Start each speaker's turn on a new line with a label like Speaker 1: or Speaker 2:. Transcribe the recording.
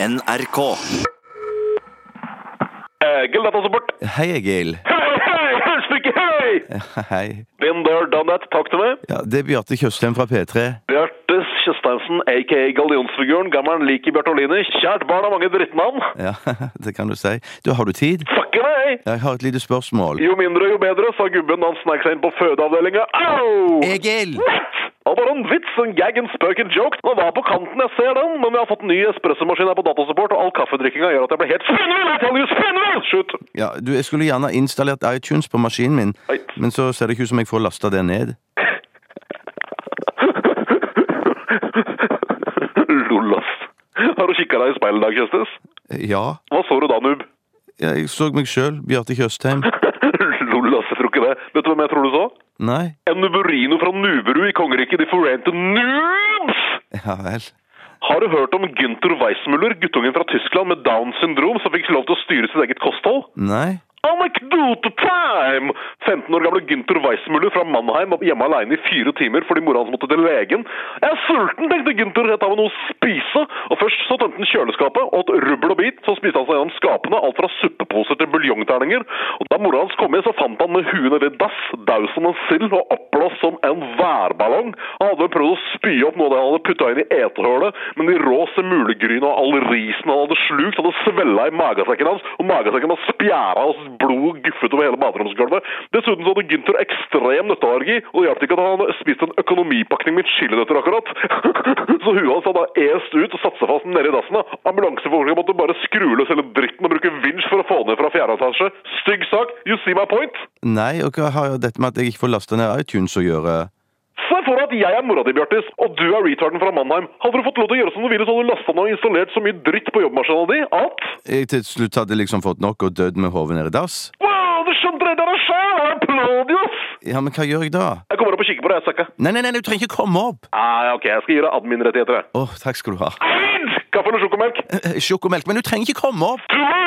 Speaker 1: NRK.
Speaker 2: Eh, Gildata support.
Speaker 1: Hei, Egil.
Speaker 2: Hei, hei, helsike, hei!
Speaker 1: Hei.
Speaker 2: Been there, done that. Takk til meg.
Speaker 1: Ja, det er Bjarte Tjøstheim fra P3.
Speaker 2: Bjarte Tjøstheimsen, a.k.a. Gallionsfiguren, gammelen lik i Bjarte Oline. Kjært barn av mange drittnavn.
Speaker 1: Ja, det kan du si. Du, har du tid?
Speaker 2: Fucke meg!
Speaker 1: Jeg har et lite spørsmål.
Speaker 2: Jo mindre, jo bedre, sa gubben da han snek seg inn på fødeavdelinga. Au!
Speaker 1: Egil!
Speaker 2: Det var bare en vits, en gag, en spøk, en joke. Den var på kanten, jeg ser den, men vi har fått en ny espressomaskin her på datasupport, og all kaffedrikkinga gjør at jeg blir helt spinnvill! Jeg kaller jo spinnvill! Shoot!
Speaker 1: Ja, du, jeg skulle gjerne installert iTunes på maskinen min,
Speaker 2: Oi.
Speaker 1: men så ser det ikke ut som jeg får lasta det ned.
Speaker 2: Lol, ass. Har du kikka deg i speilet i dag, Kjøstes?
Speaker 1: Ja,
Speaker 2: Hva så du da, Nub?
Speaker 1: ja, jeg så meg sjøl, Bjarte Tjøstheim.
Speaker 2: Lol, ass, jeg tror ikke det. Vet du hvem jeg tror du så?
Speaker 1: Nei?
Speaker 2: En nuburino fra Nuberud i kongeriket De Forente Noobs!
Speaker 1: Ja vel.
Speaker 2: Har du hørt om Günther Weissmuller, guttungen fra Tyskland med Downs syndrom, som fikk lov til å styre sitt eget kosthold?
Speaker 1: Nei?
Speaker 2: Oh Anekdote time! 15 år gamle Günther Weissmuller fra Mannheim var hjemme alene i fire timer fordi mora hans måtte til legen. Jeg er sulten, tenkte Günther. Jeg tar meg noe å spise. Og Først så tømte han kjøleskapet, åt rubbel og bit. Så spiste han seg gjennom skapene, alt fra suppeposer til buljongterninger. Og Da mora hans kom inn, så fant han med huet nedi dass, daud som en sild og oppblåst som en værballong. Han hadde vel prøvd å spy opp noe av det han hadde putta inn i etehølet, men de rå semulegrynene og all risen han hadde slukt, hadde svella i magesekken hans, og magesekken var spjæra og blod guffet over hele baderomsgulvet. Dessuten så hadde Gunther ekstrem nøtteallergi, og det hjalp ikke at han hadde spist en økonomipakning med chilinøtter akkurat. så huet hans hadde est ut og satt seg fast nede i dassen. da. Ambulansefolkene måtte bare skru løs hele dritten og bruke vinsj for å få ned fra fjerde etasje. Stygg sak, you see my point?
Speaker 1: Nei, og hva har dette med at jeg ikke får lasta ned iTunes å gjøre?
Speaker 2: Se for deg at jeg er mora di, Bjartis, og du er retarden fra Mannheim. Hadde du fått lov til å gjøre som du ville, så hadde du lasta ned og installert så mye dritt på jobbmaskina di at
Speaker 1: Jeg til slutt hadde liksom fått nok og dødd med hodet ned i dass?
Speaker 2: Wow, du skjønte det der sjøl! Applaudios!
Speaker 1: Ja, men hva gjør jeg da?
Speaker 2: Jeg kommer opp og kikker på deg, jeg, Sækka.
Speaker 1: Nei, nei, nei, du trenger ikke komme opp!
Speaker 2: Nei, ok, jeg skal gi deg adminrettigheter, jeg.
Speaker 1: Å, takk skal du ha.
Speaker 2: Eid! Kaffe eller sjokomelk?
Speaker 1: eh, Sjokomelk, men du trenger ikke komme opp!
Speaker 2: Du må